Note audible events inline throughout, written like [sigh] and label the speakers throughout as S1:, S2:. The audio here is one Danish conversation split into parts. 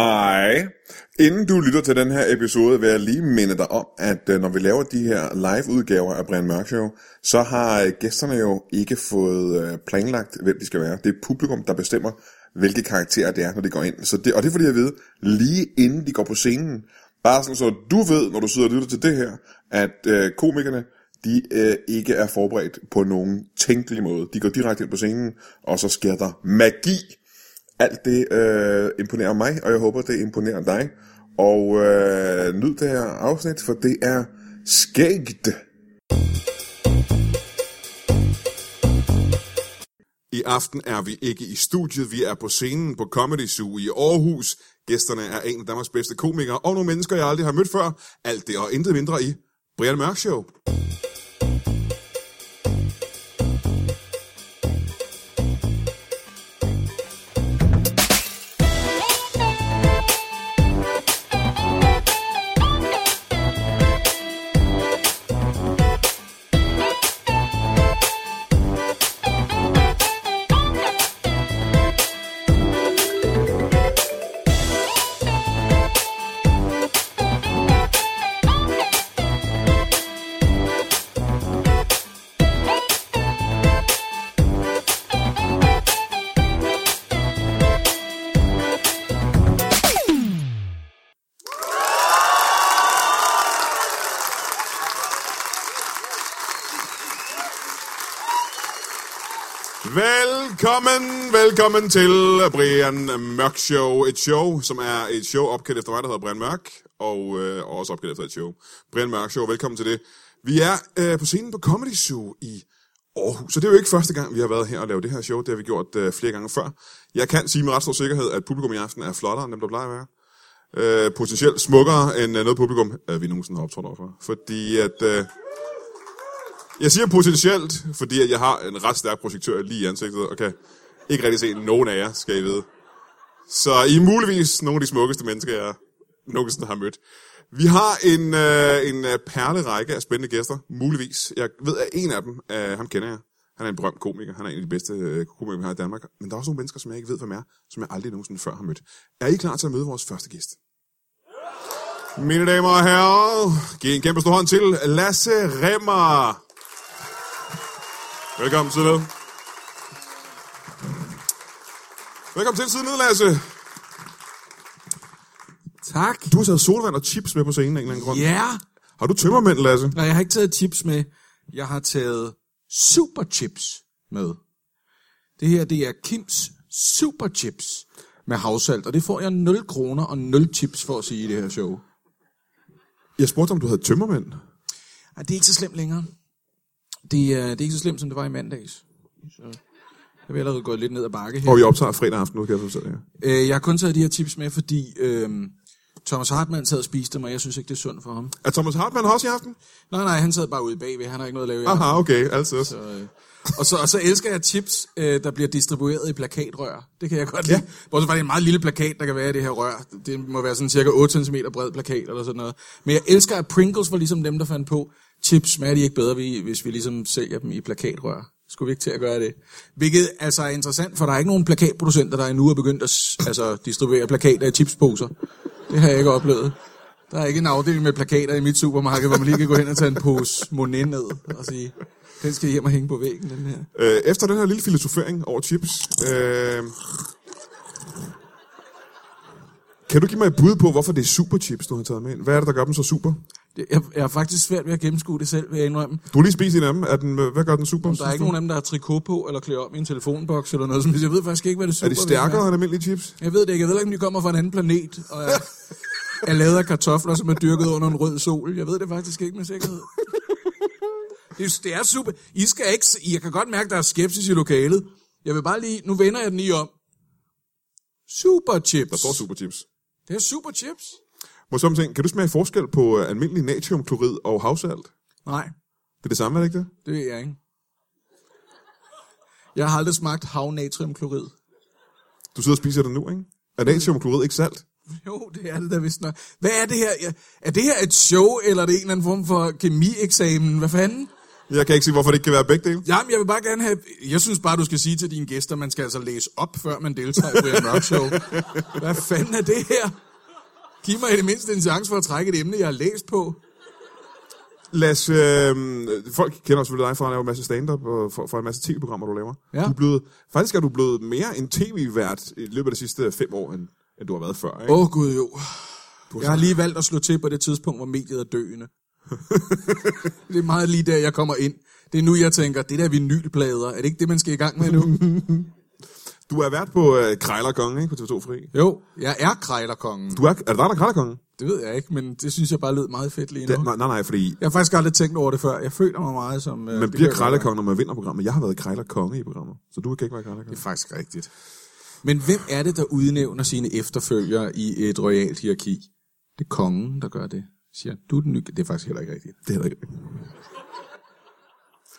S1: Hej. Inden du lytter til den her episode, vil jeg lige minde dig om, at øh, når vi laver de her live-udgaver af Brian Mørk Show, så har øh, gæsterne jo ikke fået øh, planlagt, hvem de skal være. Det er publikum, der bestemmer, hvilke karakterer det er, når de går ind. Så det, og det får de at vide lige inden de går på scenen. Bare sådan, så du ved, når du sidder og lytter til det her, at øh, komikerne, de øh, ikke er forberedt på nogen tænkelig måde. De går direkte ind på scenen, og så sker der magi. Alt det øh, imponerer mig, og jeg håber, det imponerer dig. Og øh, nyd det her afsnit, for det er skægt. I aften er vi ikke i studiet, vi er på scenen på Comedy Zoo i Aarhus. Gæsterne er en af Danmarks bedste komikere, og nogle mennesker, jeg aldrig har mødt før. Alt det og intet mindre i Brian Mørk Show. Velkommen, velkommen til Brian Mørk Show. Et show, som er et show opkaldt efter mig, der hedder Brian Mørk, og øh, og også opkaldt efter et show. Brian Mørk Show, velkommen til det. Vi er øh, på scenen på Comedy Zoo i Aarhus, så det er jo ikke første gang, vi har været her og lavet det her show. Det har vi gjort øh, flere gange før. Jeg kan sige med ret stor sikkerhed, at publikum i aften er flottere end dem, der plejer at være øh, potentielt smukkere end øh, noget publikum, øh, vi nogensinde har optrådt overfor. Fordi at... Øh, jeg siger potentielt, fordi at jeg har en ret stærk projektør lige i ansigtet, og kan ikke rigtig se nogen af jer, skal I vide. Så I er muligvis nogle af de smukkeste mennesker, jeg nogensinde har mødt. Vi har en, øh, en øh, perlerække af spændende gæster, muligvis. Jeg ved, at en af dem, øh, ham kender jeg. Han er en berømt komiker. Han er en af de bedste øh, komikere, vi har i Danmark. Men der er også nogle mennesker, som jeg ikke ved, hvem er, som jeg aldrig nogensinde før har mødt. Er I klar til at møde vores første gæst? Mine damer og herrer, giv en kæmpe stor hånd til Lasse Remmer. Velkommen til det. Velkommen til siden ned, Lasse.
S2: Tak.
S1: Du har taget solvand og chips med på scenen af en eller anden grund.
S2: Ja.
S1: Har du tømmermænd, Lasse?
S2: Nej, jeg har ikke taget chips med. Jeg har taget superchips med. Det her, det er Kims superchips med havsalt, og det får jeg 0 kroner og 0 chips for at sige i det her show.
S1: Jeg spurgte, om du havde tømmermænd.
S2: Ej, det er ikke så slemt længere. Det er, det er ikke så slemt, som det var i mandags. Så jeg vil allerede gået lidt ned ad bakke her.
S1: Og vi optager fredag aften, nu kan jeg fortælle jer.
S2: Øh, jeg har kun taget de her tips med, fordi øh, Thomas Hartmann sad og spiste dem, og jeg synes ikke, det er sundt for ham.
S1: Er Thomas Hartmann her også i aften?
S2: Nej, nej, han sad bare ude bagved. Han har ikke noget at lave i aften.
S1: Aha, okay, altså altid.
S2: Så, øh. og, så, og så elsker jeg chips, øh, der bliver distribueret i plakatrør. Det kan jeg godt lide. Ja. Bortset fra, det er en meget lille plakat, der kan være i det her rør. Det må være sådan cirka 8 cm bred plakat eller sådan noget. Men jeg elsker, at Pringles var ligesom dem, der fandt på, chips smager de ikke bedre, vi- hvis vi ligesom sælger dem i plakatrør. Skulle vi ikke til at gøre det? Hvilket altså er interessant, for der er ikke nogen plakatproducenter, der endnu er begyndt at s- altså, distribuere plakater i chipsposer. Det har jeg ikke oplevet. Der er ikke en afdeling med plakater i mit supermarked, hvor man lige kan gå hen og tage en pose Monet ned og sige, den skal hjem og hænge på væggen, den her.
S1: Øh, efter den her lille filosofering over chips, øh, kan du give mig et bud på, hvorfor det er super chips, du har taget med ind? Hvad er det, der gør dem så super?
S2: Det- Jeg, jeg er faktisk svært ved at gennemskue det selv, vil jeg indrømme.
S1: Du har lige spist en af dem. Er den, øh, hvad gør den super?
S2: Der er ikke nogen af dem, der har trikot på eller klæder om i en telefonboks eller noget som helst. Jeg ved faktisk ikke, hvad det super
S1: er de stærkere end almindelige chips?
S2: Jeg ved det ikke. Jeg ved ikke, om de kommer fra en anden planet og er, er lavet af kartofler, som er dyrket under en rød sol. Jeg ved det faktisk ikke med sikkerhed. Det er, det er super. I skal ikke... se- I kan godt mærke, der er skepsis i lokalet. Jeg vil bare lige... Nu vender jeg den lige om. Super chips.
S1: Der står super chips.
S2: Det er super chips.
S1: Må som ting, kan du smage forskel på øh, almindelig natriumklorid og havsalt?
S2: Nej,
S1: Det er det samme, er det ikke det?
S2: det ved jeg ikke. Jeg har aldrig smagt havnatriumklorid.
S1: Du sidder og spiser det nu, ikke? Er
S2: Mm.
S1: natriumklorid ikke salt?
S2: Jo, det er det da vist nok. Hvad er det her? Ja, Er det her et show, eller er det en eller anden form for kemieksamen? Hvad fanden?
S1: Jeg kan ikke se, hvorfor det ikke kan være begge dele.
S2: Jamen, jeg vil bare gerne have... Jeg synes bare, du skal sige til dine gæster, man skal altså læse op, før man deltager i Brian Mørk Show. Hvad fanden er det her? Giv mig i det mindste en chance for at trække et emne, jeg har læst på.
S1: Lad os, øh, folk kender selvfølgelig dig fra at lave en masse stand-up og fra, fra en masse tv-programmer, du laver.
S2: Ja.
S1: Du er blevet, faktisk er du blevet mere en tv-vært i løbet af de sidste fem år, end, end du har været før. Ikke?
S2: Åh oh, gud jo. Jeg har lige valgt at slå til på det tidspunkt, hvor mediet er døende. det er meget lige der, jeg kommer ind. Det er nu, jeg tænker, det der vinylplader, er det ikke det, man skal i gang med nu?
S1: Du er vært på øh, Krejlerkongen ikke? på TV2 Fri.
S2: jo, jeg er krejlerkongen.
S1: Du er, er det dig, der er Krejlerkongen?
S2: Det ved jeg ikke, men det synes jeg bare lød meget fedt lige nu.
S1: Ja. Nej, nej, nej, fordi
S2: Jeg har faktisk aldrig tænkt over det før. Jeg føler mig meget som... Øh,
S1: man bliver Krejlerkongen, når man vinder programmet. Jeg har været Krejlerkonge i programmet, så du kan ikke være
S2: Det
S1: Krejlerkonge.
S2: er faktisk rigtigt. Men hvem er det, der udnævner sine efterfølgere i et royalt hierarki? Det er kongen, der gør det. Siger, han. du er den nye... Det er faktisk heller ikke rigtigt.
S1: Det er det ikke.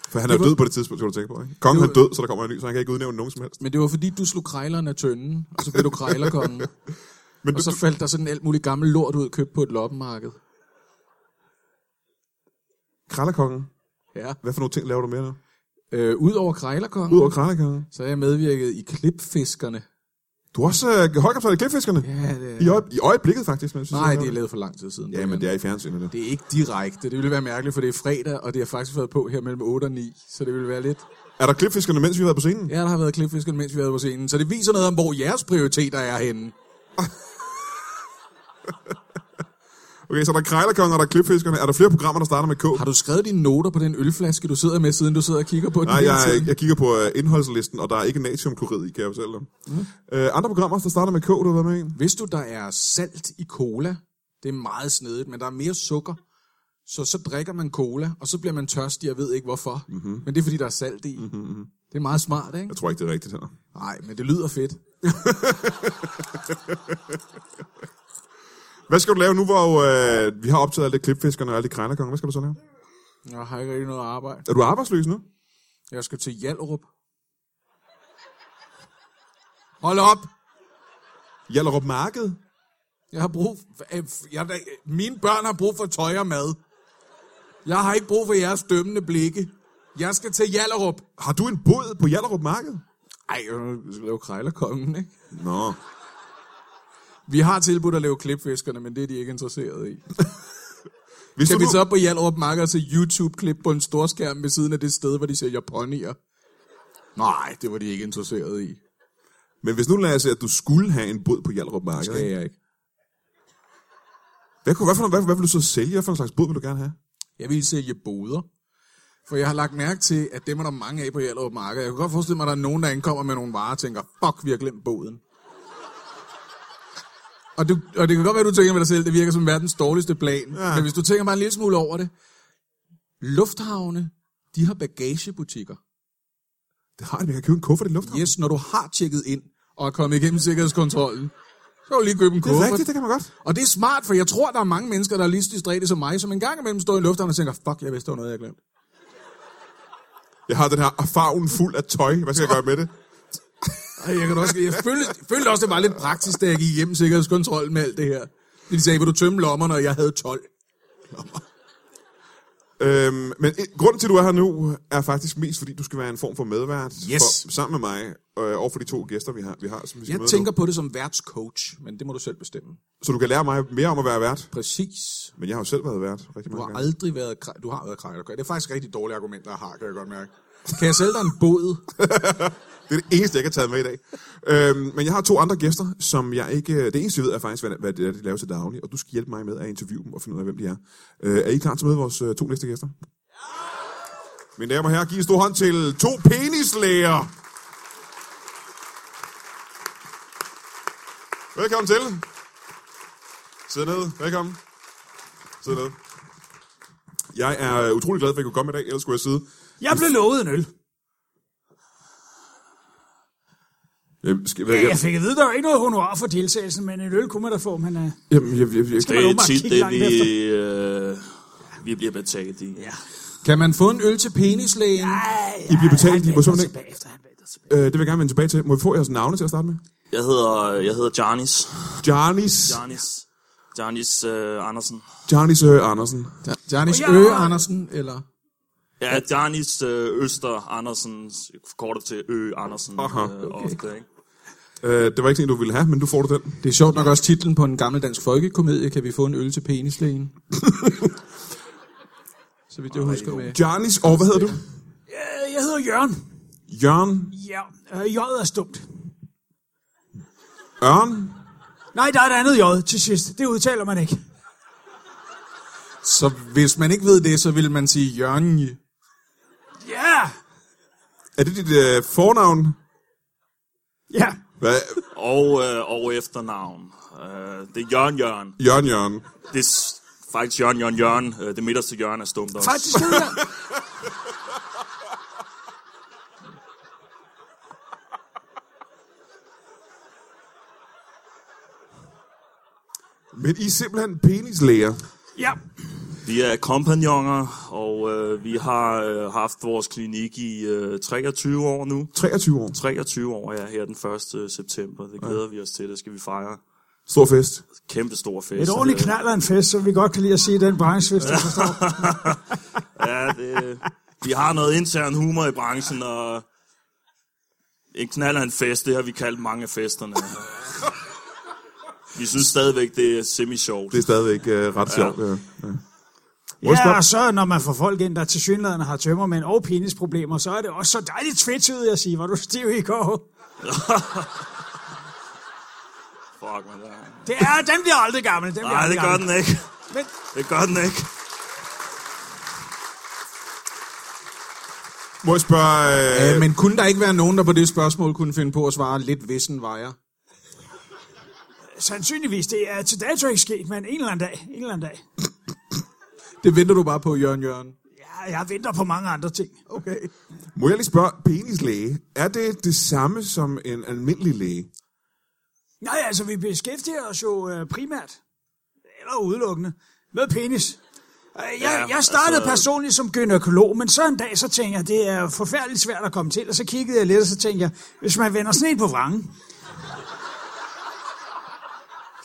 S1: For han er jo død på det tidspunkt, skal du tænke på. Ikke? Kongen er død, så der kommer en ny, så han kan ikke udnævne nogen som helst.
S2: Men det var fordi, du slog krejleren af tønden, og så blev du krejlerkongen.
S1: [laughs] Men
S2: og
S1: du,
S2: så faldt der sådan alt muligt gammel lort ud, købt på et loppemarked.
S1: Krejlerkongen,
S2: Ja.
S1: hvad for nogle ting laver du mere nu?
S2: Øh, Udover krejlerkongen,
S1: Udover Krejlerkongen.
S2: så er jeg medvirket i klipfiskerne.
S1: Du har også øh, højkapsat i klipfiskerne.
S2: Ja, det er...
S1: I, øje, I øjeblikket faktisk, men jeg synes,
S2: Nej,
S1: jeg-
S2: det er lavet for lang tid siden.
S1: Ja, men det er i fjernsynet nu.
S2: Det er ikke direkte. Det ville være mærkeligt, for det er fredag, og det har faktisk været på her mellem 8 og 9, så det ville være lidt...
S1: Er der klipfiskerne, mens vi har været på scenen?
S2: Ja, der har været klipfisker, mens vi har været på scenen, så det viser noget om, hvor jeres prioriteter er henne.
S1: Okay, så er der Krejlerkongen, og der er klipfiskerne. Er der flere programmer, der starter med K?
S2: Har du skrevet dine noter på den ølflaske, du sidder med, siden du sidder og kigger på den
S1: Nej,
S2: hele
S1: jeg,
S2: tiden?
S1: jeg kigger på øh, indholdslisten, og der er ikke natriumklorid i, kan jeg fortælle dig. Mm. Øh, andre programmer, der starter med K, du har været med i?
S2: Vidste du, der er salt i cola? Det er meget snedigt, men der er mere sukker. Så så drikker man cola, og så bliver man tørstig, jeg ved ikke hvorfor.
S1: Mhm.
S2: Mm-hmm. Men det er, fordi der er salt i. Mm-hmm. Det er meget smart, ikke?
S1: Jeg tror ikke, det er rigtigt her.
S2: Nej, men det lyder fedt.
S1: Hvad skal du lave nu, hvor øh, vi har optaget alle de klipfiskerne og alle de Krejlerkonger? Hvad skal du så lave?
S2: Jeg har ikke rigtig noget arbejde.
S1: Er du arbejdsløs nu?
S2: Jeg skal til Hjalrup. Hold op!
S1: Jallerup Marked?
S2: Jeg har brug for, øh, jeg, jeg, mine børn har brug for tøj og mad. Jeg har ikke brug for jeres dømmende blikke. Jeg skal til Jallerup.
S1: Har du en båd på Jallerup Marked?
S2: Ej, øh, vi skal lave krejlerkongen, ikke?
S1: Nå.
S2: Vi har tilbudt at lave klipfiskerne, men det er de ikke interesseret i.
S1: Hvis
S2: Kan
S1: du,
S2: vi
S1: nu-
S2: så op på Hjallerup Marker og se YouTube-klip på en storskærm ved siden af det sted, hvor de sælger ponyer? Nej, det var de ikke interesseret i.
S1: Men hvis nu lader jeg se, at du skulle have en båd på Jallerup Marked,
S2: Skal
S1: ikke?
S2: jeg ikke.
S1: hvad, kunne, hvad, for, hvad, hvad vil du så sælge? Hvad for en slags båd vil du gerne have?
S2: Jeg ville sælge boder. For jeg har lagt mærke til, at dem er der mange af på Hjallerup Marker. Jeg kan godt forestille mig, at der er nogen, der ankommer med nogle varer og tænker, fuck, vi har glemt boden. Og, du, og det kan godt være, at du tænker med dig selv, det virker som verdens dårligste plan. Ja. Men hvis du tænker bare en lille smule over det. Lufthavne, de har bagagebutikker.
S1: Det har jeg, jeg kan købe en kuffert i lufthavnen.
S2: Yes, når du har tjekket ind og er kommet igennem sikkerhedskontrollen, så kan du lige købe en
S1: Det er
S2: kuffert.
S1: rigtigt, det kan man godt.
S2: Og det er smart, for jeg tror, der er mange mennesker, der er lige så distræte som mig, som en gang imellem står i en lufthavn og tænker, fuck, jeg vidste, der var noget, jeg glemte.
S1: Jeg har den her farven fuld af tøj. Hvad skal jeg gøre med det?
S2: Ej, jeg, kan da også, jeg følte, følte også, det var lidt praktisk, da jeg gik hjem sikkerhedskontrol med alt det her. De sagde, vil du tømme lommerne, og jeg havde 12.
S1: Øhm, men et, grunden til, at du er her nu, er faktisk mest, fordi du skal være en form for medvært.
S2: Yes.
S1: For, sammen med mig, øh, og for de to gæster, vi har, vi har som vi skal
S2: Jeg
S1: møde
S2: tænker på det som værtscoach, men det må du selv bestemme.
S1: nu. Så du kan lære mig mere om at være vært.
S2: Præcis.
S1: Men jeg har jo selv været vært rigtig
S2: Du
S1: mange
S2: har
S1: gange.
S2: aldrig været krej- Du har været krejler. Det er faktisk et rigtig dårlige argumenter, jeg har, kan jeg godt mærke. Kan jeg sælge dig en båd?
S1: Det er det eneste, jeg ikke har taget med i dag. øhm, men jeg har to andre gæster, som jeg ikke... øh, Det eneste, jeg ved, er faktisk, hvad, hvad det er, de laver til daglig. Og du skal hjælpe mig med at interviewe dem og finde ud af, hvem de er. Øh, er I klar til at møde vores øh, to næste gæster? Ja! Mine damer og herrer, giv en stor hånd til to penislæger. Velkommen til. Sid ned. Velkommen. Sid ned. Jeg er øh, utrolig glad for, at I kunne komme i dag, ellers skulle jeg sidde
S3: Jeg blev lovet en øl.
S1: Øh, skal, hvad,
S3: Ja, jeg fik at vide, der var ikke noget honorar for deltagelsen, men en øl kunne man da få, men uh,
S1: Jamen, jeg, jeg, jeg,
S3: man
S4: Det er
S3: åbenbart
S4: tit
S3: kigge
S4: det,
S3: langt
S4: vi, øh, vi bliver betalt i. Ja.
S2: Kan man få en øl til penislægen?
S1: I bliver betalt i personen, ikke?
S3: Bagefter, han bagefter tilbage.
S1: Øh, det vil jeg gerne vende tilbage til. Må vi få jeres navne til at starte med?
S4: Jeg hedder, jeg hedder Jarnis.
S1: Jarnis.
S4: Jarnis. Jarnis øh, Andersen.
S1: Jarnis øh, Andersen.
S2: Janis
S3: Og
S2: Øge
S3: jeg-
S2: Andersen, eller...
S4: Ja, Janis øh, Øster Andersen, kortet til Ø Andersen.
S1: Aha,
S4: øh, ofte, ikke?
S1: Øh, det var ikke en, du ville have, men du får du den.
S2: Det er sjovt nok også titlen på en gammel dansk folkekomedie, kan vi få en øl til penislægen? så vidt jeg husker med.
S1: Janis, og hvad hedder du?
S3: Øh, Jeg hedder Jørgen.
S1: Jørgen
S3: Ja, øh, J'et er stumt.
S1: Ørn?
S3: Nej, der er et andet J til sidst. Det udtaler man ikke.
S2: Så hvis man ikke ved det, så vil man sige Jørgen.
S3: Ja!
S1: Er det dit øh, fornavn?
S3: Ja.
S1: Hvad?
S4: Og, øh, og efternavn. Øh, det er Jørgen Jørgen.
S1: Jørgen Jørgen.
S4: Det er s- faktisk Jørgen Jørgen Jørgen. Øh, det midterste Jørgen er stumt også.
S3: Faktisk hedder jeg...
S1: Men I er simpelthen penislæger.
S3: Ja.
S4: Vi er kompagnoner, og øh, vi har øh, haft vores klinik i øh, 23 år nu.
S1: 23 år.
S4: 23 år er ja, her den 1. september. Det glæder ja. vi os til. Det skal vi fejre.
S1: Stor fest.
S4: Kæmpe stor fest.
S3: Et ordentligt
S4: Øh,
S3: knald er en fest, som vi godt kan lide at sige i den branche, hvis du forstår.
S4: Ja, det, vi har noget intern humor i branchen, og en knald er en fest, det har vi kaldt mange af festerne. Vi synes stadigvæk, det er semi-sjovt.
S1: Det er stadigvæk øh, ret sjovt. Ja. Ja.
S3: Ja, og så når man får folk ind, der til synligheden har tømmermænd og penisproblemer, så er det også så dejligt tvetydigt at sige, var du stiv i går?
S4: Fuck, man. Ja.
S3: Det er, den bliver aldrig gammel. Den bliver
S4: Nej,
S3: aldrig
S4: det gør
S3: gammel.
S4: den ikke.
S3: Men
S4: Det gør den ikke.
S1: Må jeg spørge... Øh,
S2: Øh, men kunne der ikke være nogen, der på det spørgsmål kunne finde på at svare lidt vissen vejer?
S3: sandsynligvis, det er til dato ikke sket, men en eller anden dag. En eller anden dag.
S2: Det venter du bare på, Jørgen Jørgen.
S3: Ja, jeg venter på mange andre ting.
S2: Okay.
S1: må jeg lige spørge, penislæge, er det det samme som en almindelig læge?
S3: Nej, altså, vi beskæftiger os jo øh, primært, eller udelukkende, med penis. Øh, Jeg, ja,
S4: Ja,
S3: jeg startede
S4: altså-
S3: altså... personligt som gynækolog, men så en dag, så tænkte jeg, det er forfærdeligt svært at komme til, og så kiggede jeg lidt, og så tænkte jeg, hvis man vender sne på vrangen,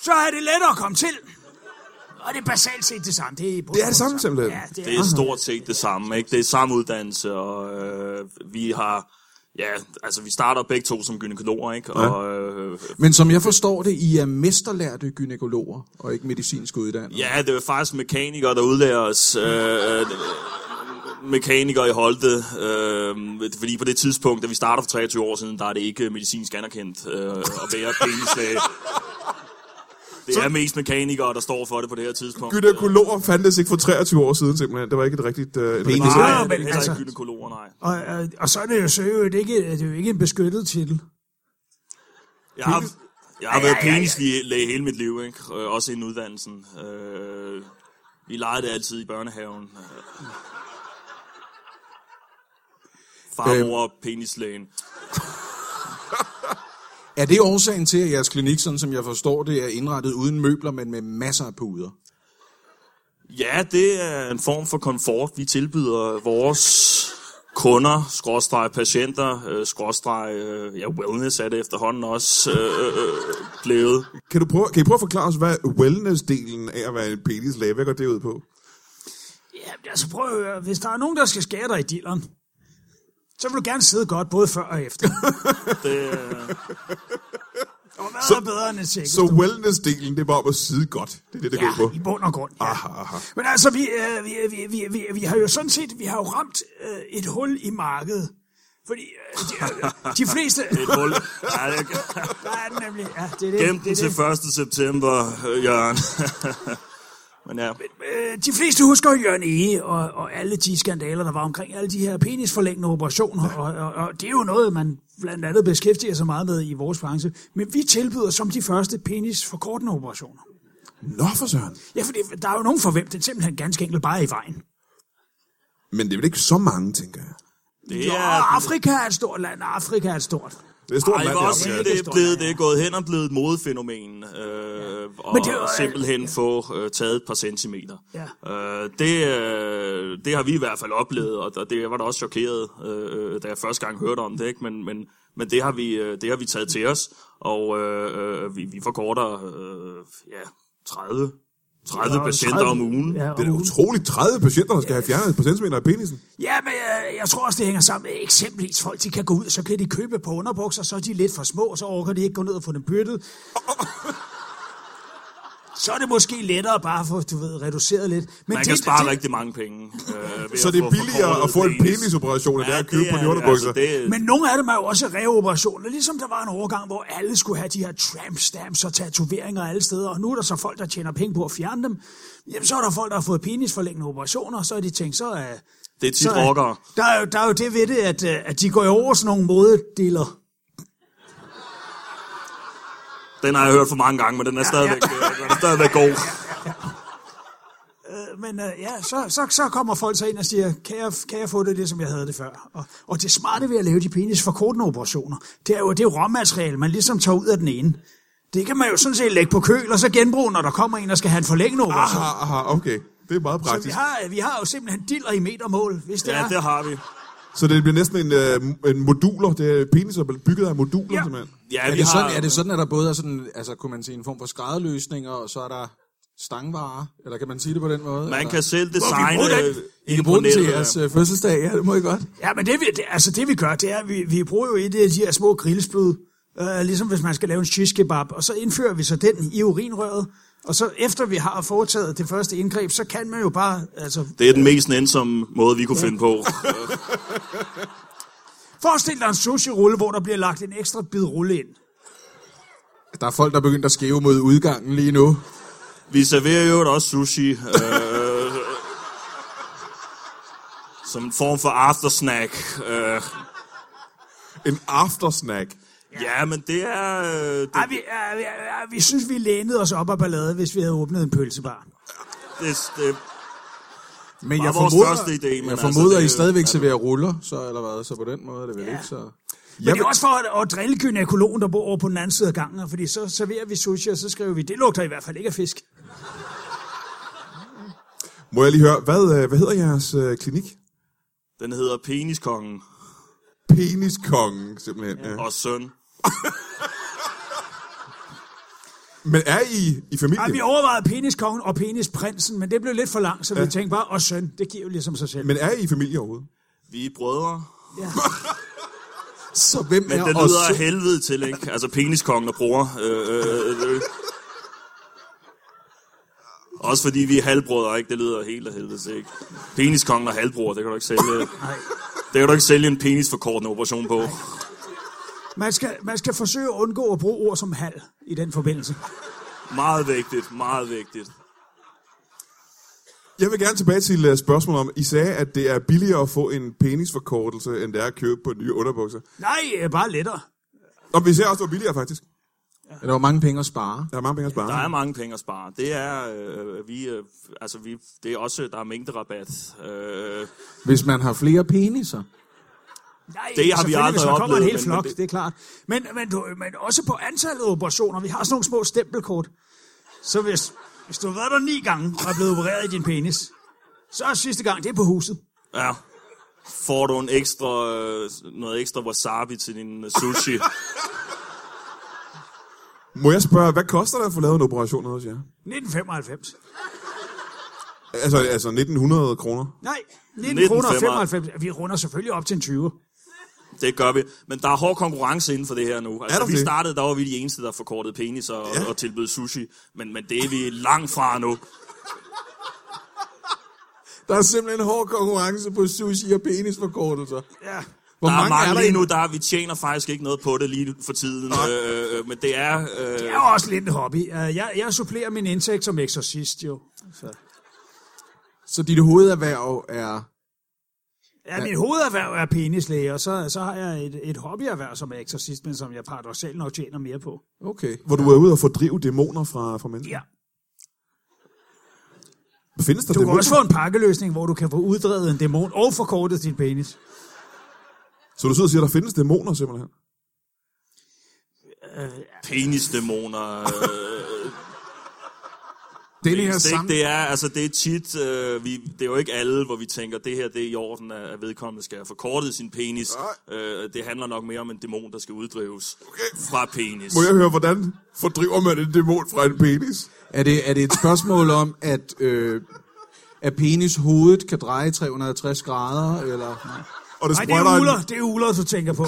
S3: så er det lettere at komme til. Og det er basalt set det samme. Det er, i bund og
S1: Det er det
S3: grund
S1: samme simpelthen.
S3: Ja, det er.
S4: Det er stort set det samme, ikke? Det er samme uddannelse, og øh, vi har... Ja, altså vi starter begge to som gynekologer, ikke? Og, øh,
S2: Men som jeg forstår det, I er mesterlærte gynækologer og ikke medicinsk uddannede.
S4: Ja, det var faktisk mekanikere, der udlærer os. Øh, øh, mekanikere i Holte. Øh, fordi på det tidspunkt, da vi starter for 23 år siden, der er det ikke medicinsk anerkendt øh, at være penislæge. Det er mest mekanikere, der står for det på det her tidspunkt.
S1: Gynækologer fandtes ikke for 23 år siden simpelthen. Det var ikke et rigtigt... Øh, et rigtigt
S4: Nej,
S3: Ja, men
S4: heller
S3: altså-
S4: ikke gynekologer, nej.
S3: Og, og, og så er det jo, så er det, ikke, det er jo ikke en beskyttet titel.
S4: Jeg har, jeg har været penislæge hele mit liv, ikke? Øh, Også inden uddannelsen. Øh, vi legede det altid i børnehaven. Øh. Far, mor, og penislægen.
S2: Er det årsagen til, at jeres klinik, sådan som jeg forstår det, er indrettet uden møbler, men med masser af puder?
S4: Ja, det er en form for komfort, vi tilbyder vores kunder, skråstreg patienter, øh, skråstreg, øh, ja, wellness er det efterhånden også øh, øh, øh, blevet.
S1: Kan, du prøve, kan I prøve at forklare os, hvad wellness-delen af at være en penislæge, hvad går det ud på?
S3: Jamen, altså prøv at høre. Hvis der er nogen, der skal skære dig i dilleren, så vil du gerne sidde godt, både før og efter.
S4: [laughs] Det, øh,
S3: Og hvad så, er bedre end et sikkert?
S1: Så wellness-delen, det er bare om at sidde godt. Det er det, det går ud på.
S3: ja, i bund og grund. Ja.
S1: Aha, aha.
S3: Men altså, vi, øh, vi, vi, vi, vi, vi har jo sådan set vi har jo ramt øh, et hul i markedet. Fordi øh, de, øh, de fleste...
S4: [laughs] et hul. Ja, det,
S3: Der er den nemlig. Ja, det er det.
S4: gem
S3: det
S4: den
S3: er
S4: til
S3: det.
S4: 1. september, øh, Jørgen. [laughs] Men ja,
S3: Øh, de fleste husker jo Jørgen Ege og, og alle de skandaler, der var omkring alle de her penisforlængende operationer, og, og, og det er jo noget, man blandt andet beskæftiger sig meget med i vores branche. Men vi tilbyder som de første penisforkortende operationer.
S1: Nå for søren.
S3: Ja, fordi der er jo nogen for hvem, det simpelthen ganske enkelt bare er i vejen.
S1: Men det er vel ikke så mange, tænker jeg.
S4: det
S3: Ja,
S4: er...
S3: og Afrika er et stort land, og Afrika er et stort.
S1: Det er et stort
S4: Ej, jeg
S1: land,
S4: vil
S1: det
S4: også
S1: her.
S4: sige,
S3: Afrika.
S4: det er, blevet, det er gået hen og blevet et modefænomen, øh, og
S3: det er jo-
S4: simpelthen få øh, taget et par centimeter.
S3: Ja.
S4: Øh, det, øh, det har vi i hvert fald oplevet, og og det var da også chokeret, øh, øh, da jeg første gang hørte om det, ikke? men, men, men det, har vi, øh, det har vi taget til os, og øh, øh, vi, vi forkorter øh, ja, 30 30
S3: Og
S4: patienter
S3: 30
S4: om ugen.
S3: Ja,
S1: Det er da
S3: om ugen.
S1: utroligt 30 patienter, der skal have fjernet et par centimeter af penisen.
S3: Ja, men jeg, jeg tror også, det hænger sammen med eksempelvis folk, de kan gå ud, så kan de købe på underbukser, så er de lidt for små, og så orker de ikke gå ned og få dem byttet. Så er det måske lettere bare at få, du ved, reduceret lidt. Men
S4: Man kan spare rigtig mange penge. Øh, ved
S1: Så det er
S4: få
S1: billigere at få en
S4: forkortet
S1: penisoperation, end det er at købe på de underbukser.
S4: det,
S3: Men nogle af dem er jo også reoperationer, ligesom der var en overgang, hvor alle skulle have de her tramp stamps og tatoveringer alle steder, og nu er der så folk, der tjener penge på at fjerne dem. Jamen, så er der folk, der har fået penisforlængende operationer, og så er de tænkt, så er...
S4: det er tit
S3: Så er,
S4: rockere.
S3: der, er jo, der er jo det ved det, at, øh, at de går over sådan nogle modedealer.
S4: Den har jeg hørt for mange gange, men den er stadigvæk, øh, den er stadigvæk god.
S3: Men øh, ja, så, så, så kommer folk så ind og siger, kan jeg, kan jeg få det, ligesom jeg havde det før? Og, og det smarte ved at lave de penis forkortende operationer, det er jo, det er jo råmateriale, man ligesom tager ud af den ene. Det kan man jo sådan set lægge på køl, og så genbruge, når der kommer en, der skal have en
S4: Ah,
S3: forlængende operation.
S1: Aha, aha, okay. Det er meget
S3: Ah. Så vi
S1: praktisk.
S3: har, vi har jo simpelthen diller i metermål, hvis det
S4: Ja,
S3: er.
S4: det har vi.
S1: Så det bliver næsten en, øh, en moduler. Det er penis, der er bygget af moduler,
S3: Ja.
S1: simpelthen.
S4: Ja,
S2: Er
S4: vi
S2: det,
S4: har,
S2: sådan, er det sådan, at der både er sådan, altså kunne man sige en form for skrædderløsninger, og så er der stangvarer? Eller kan man sige det på den måde?
S4: man
S2: eller?
S4: kan selv
S2: bruge
S4: designe...
S2: den?
S4: øh,
S2: I kan
S4: ind
S2: bruge
S4: på
S2: den til
S4: nettet,
S2: jeres
S4: ja.
S2: øh, fødselsdag, ja, det må I godt.
S3: Ja, men det vi, det, altså det vi gør, det er, at vi, vi bruger jo et af de her små grillespyd, øh, ligesom hvis man skal lave en shish kebab, og så indfører vi så den i urinrøret, og så efter vi har foretaget det første indgreb, så kan man jo bare, altså,
S4: Det er den mest nænsomme måde, vi kunne finde på.
S3: forestil dig en sushi-rulle, hvor der bliver lagt en ekstra bid rulle ind.
S2: Der er folk, der er begyndt at skæve mod udgangen lige nu.
S4: Vi serverer jo også sushi. Øh, som en form for aftersnack. Øh,
S1: En aftersnack.
S4: ja, men det er... Øh, det,
S3: Ej, vi, ja, vi, ja, vi synes, vi lænede os op af ballade, hvis vi havde åbnet en pølsebar.
S4: det, det,
S2: Men
S4: Var
S2: jeg
S4: vores
S2: formoder,
S4: første idé, men
S2: jeg
S4: altså,
S2: formoder
S4: det-
S2: I stadigvæk serverer ruller, så, eller hvad, så på den måde er det vel ikke så...
S3: Men det er også for at, at drille gynækologen, der bor over på den anden side af gangen, og fordi så serverer vi sushi, og så skriver vi, det lugter i hvert fald ikke af fisk.
S1: Må jeg lige høre, hvad, øh, hvad hedder jeres øh, klinik?
S4: den hedder Peniskongen
S1: Peniskongen, simpelthen. Ja.
S4: og søn.
S1: Men er I i familie?
S3: Ej, vi overvejede peniskongen og penisprinsen, men det blev lidt for langt, så vi tænkte bare, og søn, det giver jo ligesom sig selv.
S1: Men er I i familie overhovedet?
S4: Vi er brødre.
S2: Så hvem
S4: Men
S2: er
S4: det
S2: os?
S4: lyder af helvede til, ikke? Altså peniskongen og bror. Øh, øh, øh. Også fordi vi er halvbrødre, ikke? Det lyder helt af helvede til, ikke? Peniskongen og halvbror, det kan du ikke sælge. Det kan du ikke sælge en penisforkortende operation på.
S3: Man skal, man skal forsøge at undgå at bruge ord som halv i den forbindelse.
S4: Meget vigtigt, meget vigtigt.
S1: Jeg vil gerne tilbage til øh, spørgsmålet om, I sagde, at det er billigere at få en penisforkortelse, end det er at købe på nye underbukser.
S3: Nej, øh, bare lettere.
S1: Og vi ser også, det var billigere faktisk.
S2: Der var mange penge at spare.
S1: Der er mange penge at spare.
S4: Der er mange penge at spare. Det er, øh, vi, øh, altså vi, det er også, der er mængderabat. Øh,
S2: Hvis man har flere peniser.
S3: Nej,
S4: Det har vi
S3: selvfølgelig,
S4: aldrig
S3: hvis man kommer en
S4: oplevet,
S3: hel
S4: men-
S3: flok,
S4: men
S3: det...
S4: det-
S3: det er klart. Men, men, du, men også på antallet af operationer. Vi har sådan nogle små stempelkort. Så hvis, hvis du har været der ni gange og er blevet opereret i din penis, så er sidste gang, det er på huset.
S4: ja. Får du en ekstra, øh, noget ekstra wasabi til din øh, sushi?
S1: Må jeg spørge, hvad koster det at få lavet en operation hos jer?
S3: 1995.
S1: Altså, altså 1900 kroner.
S3: Nej, 19 kroner og
S4: 1995.
S3: 95. Vi runder selvfølgelig op til en 20.
S4: Det gør vi. Men der er hård konkurrence inden for det her nu. Altså,
S1: Er der
S4: vi
S1: det?
S4: startede, der var vi de eneste, der forkortede penis og,
S1: Ja.
S4: ja. og tilbød sushi. Men, men det er vi langt fra nu.
S2: Der er simpelthen hård konkurrence på sushi og penisforkortelser.
S3: Ja.
S2: Hvor
S4: der er mange
S2: er der
S4: lige nu,
S2: egentlig?
S4: der vi tjener faktisk ikke noget på det lige for tiden. Øh, øh, men det er... Øh,
S3: Det er jo også lidt en hobby. Øh, Jeg, jeg supplerer min indtægt som eksorcist, jo.
S2: Så dit hovederhverv er...
S3: Ja, min hovederhverv er penislæge, og så, så har jeg et, et hobbierhverv som er eksorcist, men som jeg paradoxalt nok tjener mere på.
S2: Okay.
S1: Hvor du er ude og fordrive dæmoner fra, fra mennesker.
S3: Ja.
S1: Findes der
S3: Du kan
S1: dæmoner?
S3: også få en pakkeløsning, hvor du kan få uddrevet en dæmon og forkortet din penis.
S1: Så du sidder og siger, at der findes dæmoner simpelthen?
S4: penisdæmoner. Øh,
S2: Den her
S4: det,
S2: sam...
S4: ikke, det er altså det er tit, øh, vi, det er jo ikke alle, hvor vi tænker, det her det er i orden, at at vedkommende skal have forkortet sin penis. Øh, det handler nok mere om en dæmon, der skal uddrives okay. fra penis.
S1: Må jeg høre, hvordan fordriver man en dæmon fra en penis?
S2: Er det, er det et spørgsmål om, at, øh, at penis hovedet kan dreje 360 grader? Eller? Nej.
S1: Og det
S3: Nej, det
S1: sprøjter
S3: er
S1: en-
S3: uler, det er uler, du tænker
S4: [laughs]
S3: på.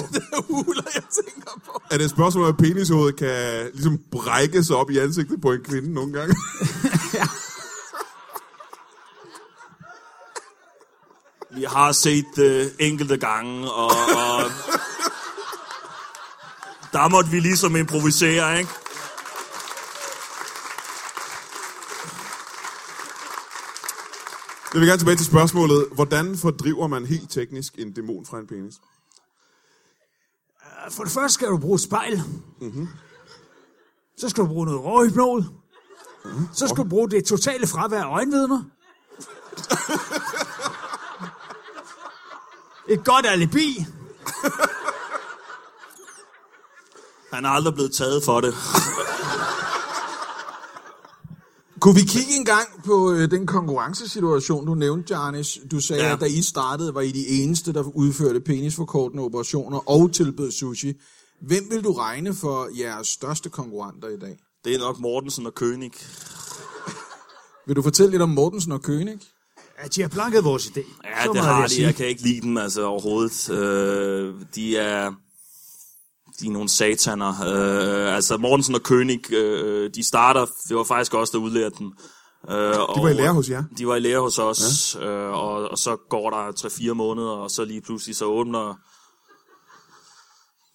S2: Uler, jeg tænker på.
S1: Er det et spørgsmål, om, at penishovedet kan ligesom brække sig op i ansigtet på en kvinde nogle gange?
S4: Vi har set det enkelte gange, og, og der måtte vi ligesom improvisere, ikke?
S1: Jeg vil gerne tilbage til spørgsmålet. Hvordan fordriver man helt teknisk en dæmon fra en penis?
S3: For det første skal du bruge et spejl. Mm-hmm.
S4: Mhm.
S3: Så skal du bruge noget råhypnol. Mm-hmm.
S4: Mhm.
S3: Så skal du bruge det totale fravær af
S4: [laughs]
S3: øjenvidner. Et godt alibi.
S4: Han er aldrig blevet taget for det.
S2: Kunne vi kigge en gang på øh, den konkurrencesituation, du nævnte, Jarnes? Du sagde, ja.
S4: Ja.
S2: at da I startede, var I de eneste, der udførte penisforkortende operationer og tilbød sushi. Hvem vil du regne for jeres største konkurrenter i dag?
S4: Det er nok Mortensen og König.
S2: Vil du fortælle lidt om Mortensen og König?
S3: Ja, de har planket vores idé.
S4: Ja, det
S3: Så meget vil
S4: har
S3: jeg
S4: de.
S3: sige.
S4: Jeg kan ikke lide dem altså, overhovedet. Øh, de er... De er nogle sataner. Øh, altså, Mortensen og König, øh, de starter... Det var faktisk også der udlærte dem. Øh, de
S1: Det var i lære hos jer.
S4: De var i lære hos os, ja. øh, og, og så går der 3-4 måneder, og så lige pludselig så åbner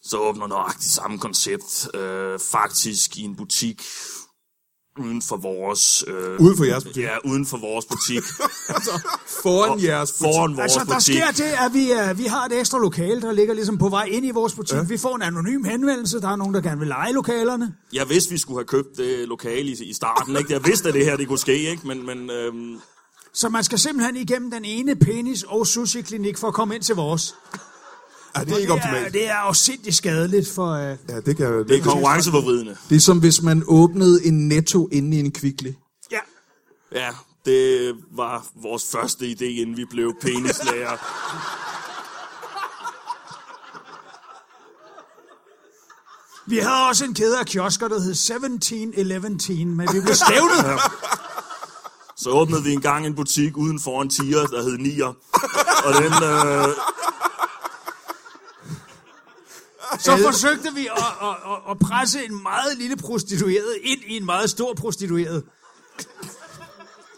S4: så åbner nøjagtigt samme koncept, øh, faktisk i en butik uden for vores... Øh,
S1: Uden for jeres butik.
S4: Ja, uden for vores butik.
S2: Foran jeres
S4: Foran vores
S3: Altså, der
S4: butik.
S3: sker det, at vi, uh, vi har et ekstra lokale, der ligger ligesom på vej ind i vores butik. Ja. Vi får en anonym henvendelse. Der er nogen, der gerne vil lege lokalerne.
S4: Jeg vidste, vi skulle have købt det lokale i, i starten. Ikke? Jeg vidste, at det her det kunne ske, ikke? men... men øhm,
S3: Så man skal simpelthen igennem den ene penis- og sushi-klinik for at komme ind til vores.
S1: Ej, det er ikke
S3: Det er,
S1: optimalt.
S3: det er afsindig skadeligt for... Uh,
S1: Ja, det kan
S4: det er konkurrenceforvridende.
S2: Det er som hvis man åbnede en netto inde i en kvikle.
S3: ja.
S4: Ja, det var vores første idé, inden vi blev penislærer.
S3: Vi havde også en kæde af kiosker, der hed 1711, men vi
S1: [laughs]
S3: blev stævnet.
S4: Så åbnede vi engang en butik uden for en tiger, der hed Nier. Og den, øh,
S3: Så forsøgte vi at, at, at, at presse en meget lille prostitueret ind i en meget stor prostitueret.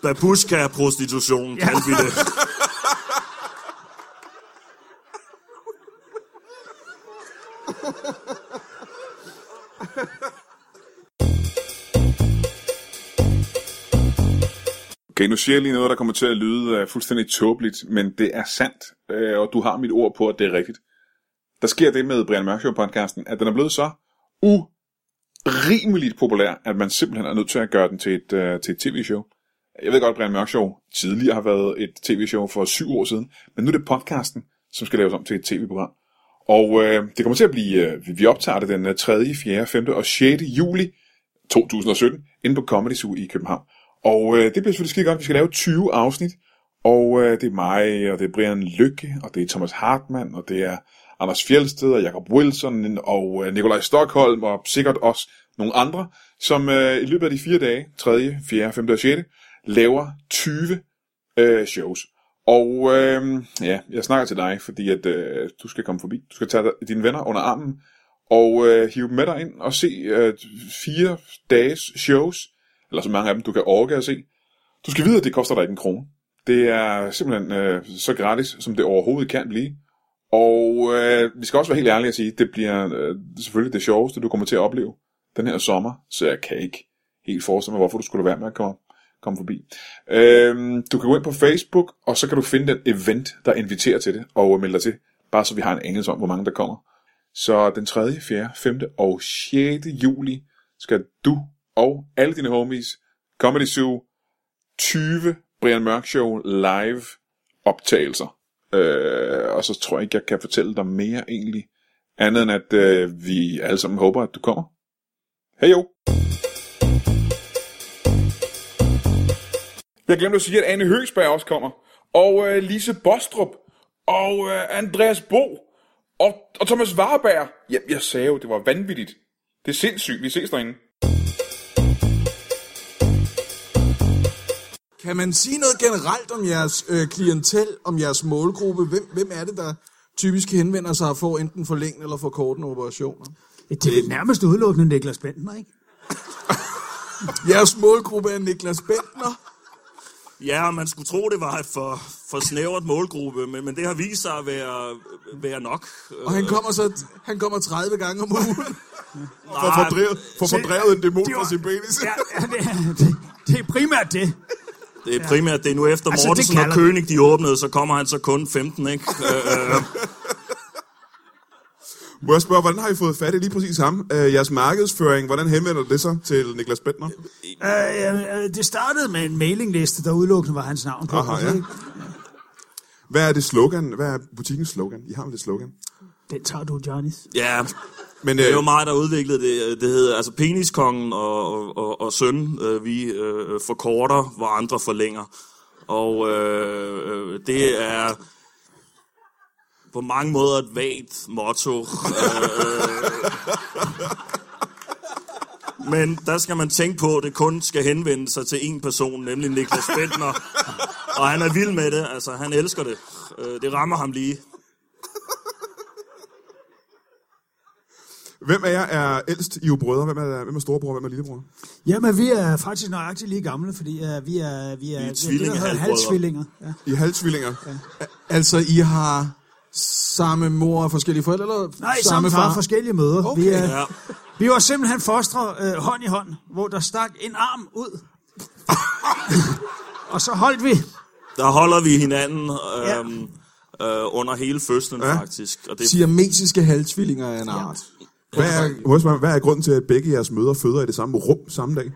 S4: babushka-prostitution, ja. kaldte vi det.
S5: Okay, nu siger jeg lige noget, der kommer til at lyde uh, fuldstændig tåbeligt, men det er sandt, uh, og du har mit ord på, at det er rigtigt. Der sker det med Brian Mørk podcasten at den er blevet så urimeligt populær, at man simpelthen er nødt til at gøre den til et, uh, til et tv-show. Jeg ved godt, at Brian Mørk Show tidligere har været et tv-show for syv år siden, men nu er det podcasten, som skal laves om til et tv-program. Og øh, det kommer til at blive, øh, vi optager det den øh, 3., 4., 5. og 6. juli 2017 inde på Comedy Zoo i København. Og øh, det bliver selvfølgelig skide godt. Vi skal lave 20 afsnit, og øh, det er mig, og det er Brian Lykke, og det er Thomas Hartmann, og det er Anders Fjeldsted, og Jacob Wilson, og øh, Nikolaj Stockholm, og sikkert også nogle andre, som øh, i løbet af de fire dage, 3., 4., 5. og 6., laver 20 øh, shows. Og øh, ja, jeg snakker til dig, fordi at øh, du skal komme forbi. Du skal tage dig- dine venner under armen og øh, hive dem med dig ind og se øh, fire dages shows, eller så mange af dem, du kan orke at se. Du skal vide, at det koster dig ikke en krone. Det er simpelthen øh, så gratis, som det overhovedet kan blive. Og øh, vi skal også være helt ærlige at sige, det bliver øh, selvfølgelig det sjoveste, du kommer til at opleve den her sommer, så jeg kan ikke helt forestille mig, hvorfor du skulle lade være med at komme, komme forbi. Øhm, du kan gå ind på Facebook, og så kan du finde den event, der inviterer til det, og melde dig til, bare så vi har en anelse om, hvor mange der kommer. Så den 3., 4., 5. og 6. juli skal du og alle dine homies, Comedy Zoo, 20 Brian Mørk Show live optagelser. Øh, og så tror jeg ikke, jeg kan fortælle dig mere egentlig, andet end at øh, vi alle sammen håber, at du kommer. Hej jo! Jeg glemte at sige, at Anne Høgsberg også kommer. Og øh, Lise Bostrup. Og øh, Andreas Bo. Og, og Thomas Warberg. Ja, jeg sagde jo, det var vanvittigt. Det er sindssygt. Vi ses derinde.
S2: Kan man sige noget generelt om jeres øh, klientel, om jeres målgruppe? Hvem, hvem er det, der typisk henvender sig og får enten forlængende eller forkortende operationer?
S3: Det er vel nærmest udelukkende Niklas Bentner, ikke?
S2: Jeres målgruppe er Niklas Bentner.
S4: Ja, man skulle tro, det var et for, for snævert målgruppe, men, men det har vist sig at være, være nok.
S2: Og han kommer, så, han kommer 30 gange om ugen.
S1: For at fordrevet, for
S3: Se,
S1: fordrevet en dæmon
S3: det
S1: fra
S3: var-
S1: sin penis.
S3: Ja, ja det, er- det, det er primært det.
S4: Det er primært, det er nu efter
S3: Altså,
S4: altså,
S3: det
S4: Mortensen og
S3: kalder-
S4: König, de åbnede, så kommer han så kun 15, ikke? [laughs] Øh, øh,
S1: Må jeg spørge, hvordan har I fået fat i lige præcis ham? Øh, jeres markedsføring, hvordan henvender det sig til Niklas Bentner?
S3: Øh, øh, øh, det startede med en mailingliste, der udelukkende var hans navn på.
S1: Aha, ja. Hvad er det slogan? Hvad er butikkens slogan? I har vel det slogan?
S3: Den tager du, Johnny.
S4: ja,
S1: Men
S4: det er jo
S1: øh,
S4: mig, der udviklede det. Det hedder altså Peniskongen og, og, og, og Søn, øh, vi øh, forkorter, hvor andre forlænger. Og øh, øh, det er på mange måder et vagt motto. Øh, Men der skal man tænke på, at det kun skal henvende sig til én person, nemlig Niklas Bentner. Og han er vild med det, altså han elsker det. Øh, Det rammer ham lige.
S1: hvem af jer er ældst? I er jo brødre. Hvem er, hvem er storebror? Hvem er lillebror?
S3: Jamen, vi er faktisk nøjagtigt lige gamle, fordi uh, vi er, vi er, vi er
S4: tvillinge-
S3: halvtvillinger. Ja.
S1: I er halvtvillinger. Ja.
S2: [laughs] Altså, I har samme mor og forskellige forældre, eller
S3: Nej, samme, samme far, forskellige møder. Okay. Vi, er,
S4: Ja.
S3: vi var simpelthen fostre øh, hånd i hånd, hvor der stak en arm [laughs] ud. og så holdt vi.
S4: Der holder vi hinanden øhm, øh, under hele fødslen,
S1: Ja.
S4: ja. faktisk. Og det,
S2: Siamesiske halvtvillinger er en art.
S1: Hvad, er, må jeg spørge, hvad er grunden til, at begge jeres mødre føder i det samme rum samme dag?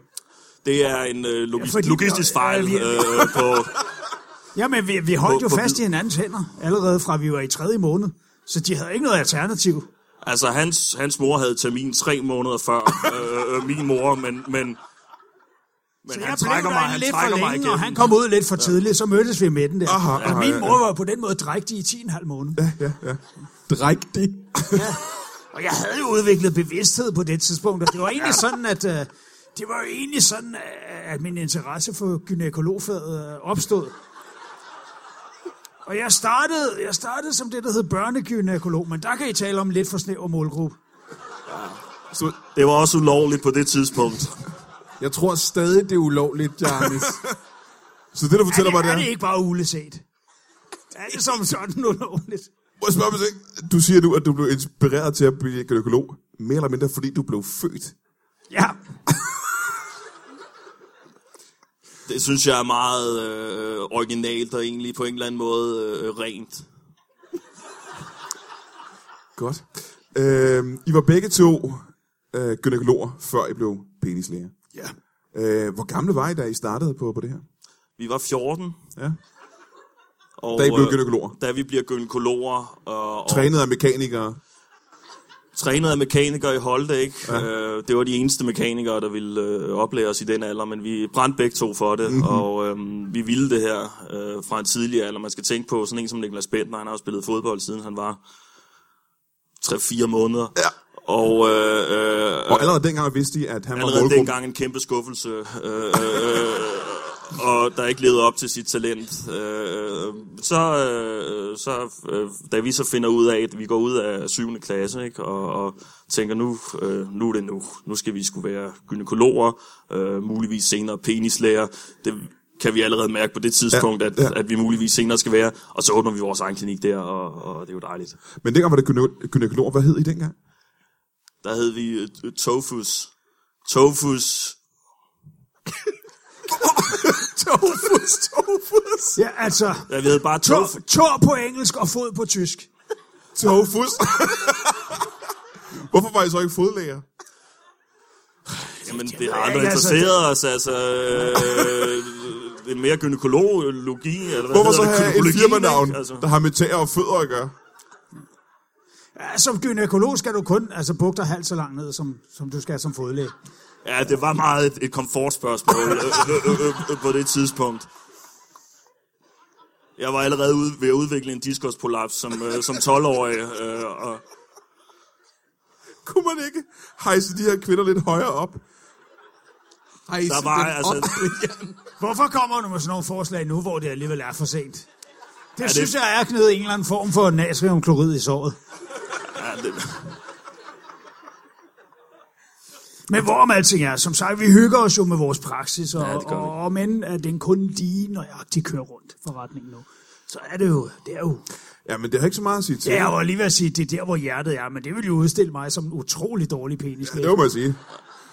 S4: det er en øh, logis- ja,
S3: fordi-
S4: logistisk fejl
S3: Ja, vi-
S4: øh, på...
S3: Jamen, vi, vi holdt
S4: På-
S3: jo
S4: på
S3: fast
S4: bid.
S3: i hinandens hænder, allerede fra vi var i tredje måned. Så de havde ikke noget alternativ.
S4: Altså, hans, hans mor havde termin tre måneder før øh, øh, min mor, men... men men han trækker mig,
S3: derinde
S4: han
S3: lidt
S4: trækker
S3: for
S4: mig
S3: længe,
S4: igennem.
S3: og han kom ud lidt for tidligt, så mødtes vi med den der.
S1: Aha,
S3: og
S1: aha,
S3: min
S1: ja,
S3: mor var på den måde drægtig i 10,5 måneder. Ja.
S1: Ja, ja.
S2: Dræk det.
S3: Og jeg havde jo udviklet bevidsthed på det tidspunkt, og det var egentlig sådan, at... Øh, det var jo egentlig sådan, øh, at min interesse for gynækologfaget øh, opstod. Og jeg startede, jeg startede som det, der hed børnegynækolog, men der kan I tale om lidt for snæver målgruppe.
S4: Det var også ulovligt på det tidspunkt.
S2: Jeg tror stadig, det er ulovligt, Jarnis.
S1: Så det, du fortæller
S3: er,
S1: mig,
S3: det,
S1: det
S3: er
S1: er...
S3: det ikke bare uleset? Er det som sådan ulovligt?
S1: Må jeg spørge, om en ting? du siger nu, at du blev inspireret til at blive gynækolog, mere eller mindre fordi du blev født.
S3: Ja,
S4: Det synes jeg er meget øh, originalt og egentlig på en eller anden måde øh, rent.
S1: Godt. Øh, I var begge to øh, gynækologer, før I blev penislæger.
S2: ja.
S1: Øh, hvor gamle var I, da I startede på, på det her?
S4: Vi var 14.
S1: Ja.
S4: Og,
S1: Da I blev
S4: øh,
S1: gynækologer.
S4: Da vi bliver gynekologer. Og, og
S1: Trænet af mekanikere.
S4: trænet af mekanikere i Holte, ikke? Ja. Øh, det var de eneste mekanikere, der ville øh, oplære os i den alder, men vi brændte begge to for det, mm-hmm. og øh, vi ville det her øh, fra en tidlig alder. Man skal tænke på sådan en som Niklas Bentner, han har jo spillet fodbold, siden han var 3-4 måneder.
S1: Ja.
S4: Og øh, øh,
S1: Og allerede dengang vidste I, at han var
S4: allerede
S1: målgruppen.
S4: dengang en kæmpe skuffelse, øh, øh, øh, og der ikke levede op til sit talent. Øh, så, øh, så øh, da vi så finder ud af, at vi går ud af 7. klasse, ikke, og, og tænker, nu, øh, nu er det nu. Nu skal vi skulle være gynekologer, øh, muligvis senere penislæger. Det kan vi allerede mærke på det tidspunkt,
S1: Ja,
S4: at,
S1: ja.
S4: at vi muligvis senere skal være. Og så åbner vi vores egen klinik der, og, og det er jo dejligt.
S1: Men dengang var det gyne- gynækologer. Hvad hed I dengang?
S4: Der hed vi øh, øh, Tofus. Tofus
S2: Tofus, tofus.
S3: ja altså...
S4: Ja, vi hed bare Tofus.
S3: Tor, tor på engelsk og fod på tysk.
S1: Tofus. Hvorfor var I så ikke fodlæger?
S4: Jamen, det har aldrig
S3: ikke, altså,
S4: interesseret os, altså... Øh, det er mere gynekologi, eller hvad
S1: Hvorfor så
S4: hedder det?
S1: have et
S4: Gynekologi,
S1: firmanavn,
S4: ikke? Altså,
S1: der har med tæer og fødder at gøre?
S3: Ja, som gynækolog skal du kun altså, bukke dig halvt så langt ned, som, som du skal som fodlæge.
S4: ja, det var meget et, et komfortspørgsmål øh, øh, øh, øh, på det tidspunkt. Jeg var allerede ude, ved at udvikle en diskusprolaps som, øh, som 12-årig, øh, og
S1: Kunne man ikke hejse de her kvinder lidt højere op?
S2: Hejse
S4: Der var
S2: den
S4: altså-
S2: op, Brian.
S3: Hvorfor kommer du med sådan nogle forslag nu, hvor det alligevel er for sent? Det, det synes jeg er knyttet en eller anden form for natriumklorid i såret.
S4: Ja, det,
S3: Men hvorom alting er, som sagt, vi hygger os jo med vores praksis, og, ja,
S4: det gør vi.
S3: og, og men at den kun lige nøjagtigt kører rundt forretningen nu. Så er det jo, det er jo,
S1: Ja, men det har ikke så meget at sige til.
S3: det er jo lige ved at sige, det er der, hvor hjertet er, men det vil jo udstille mig som en utrolig dårlig penis.
S1: det må man sige.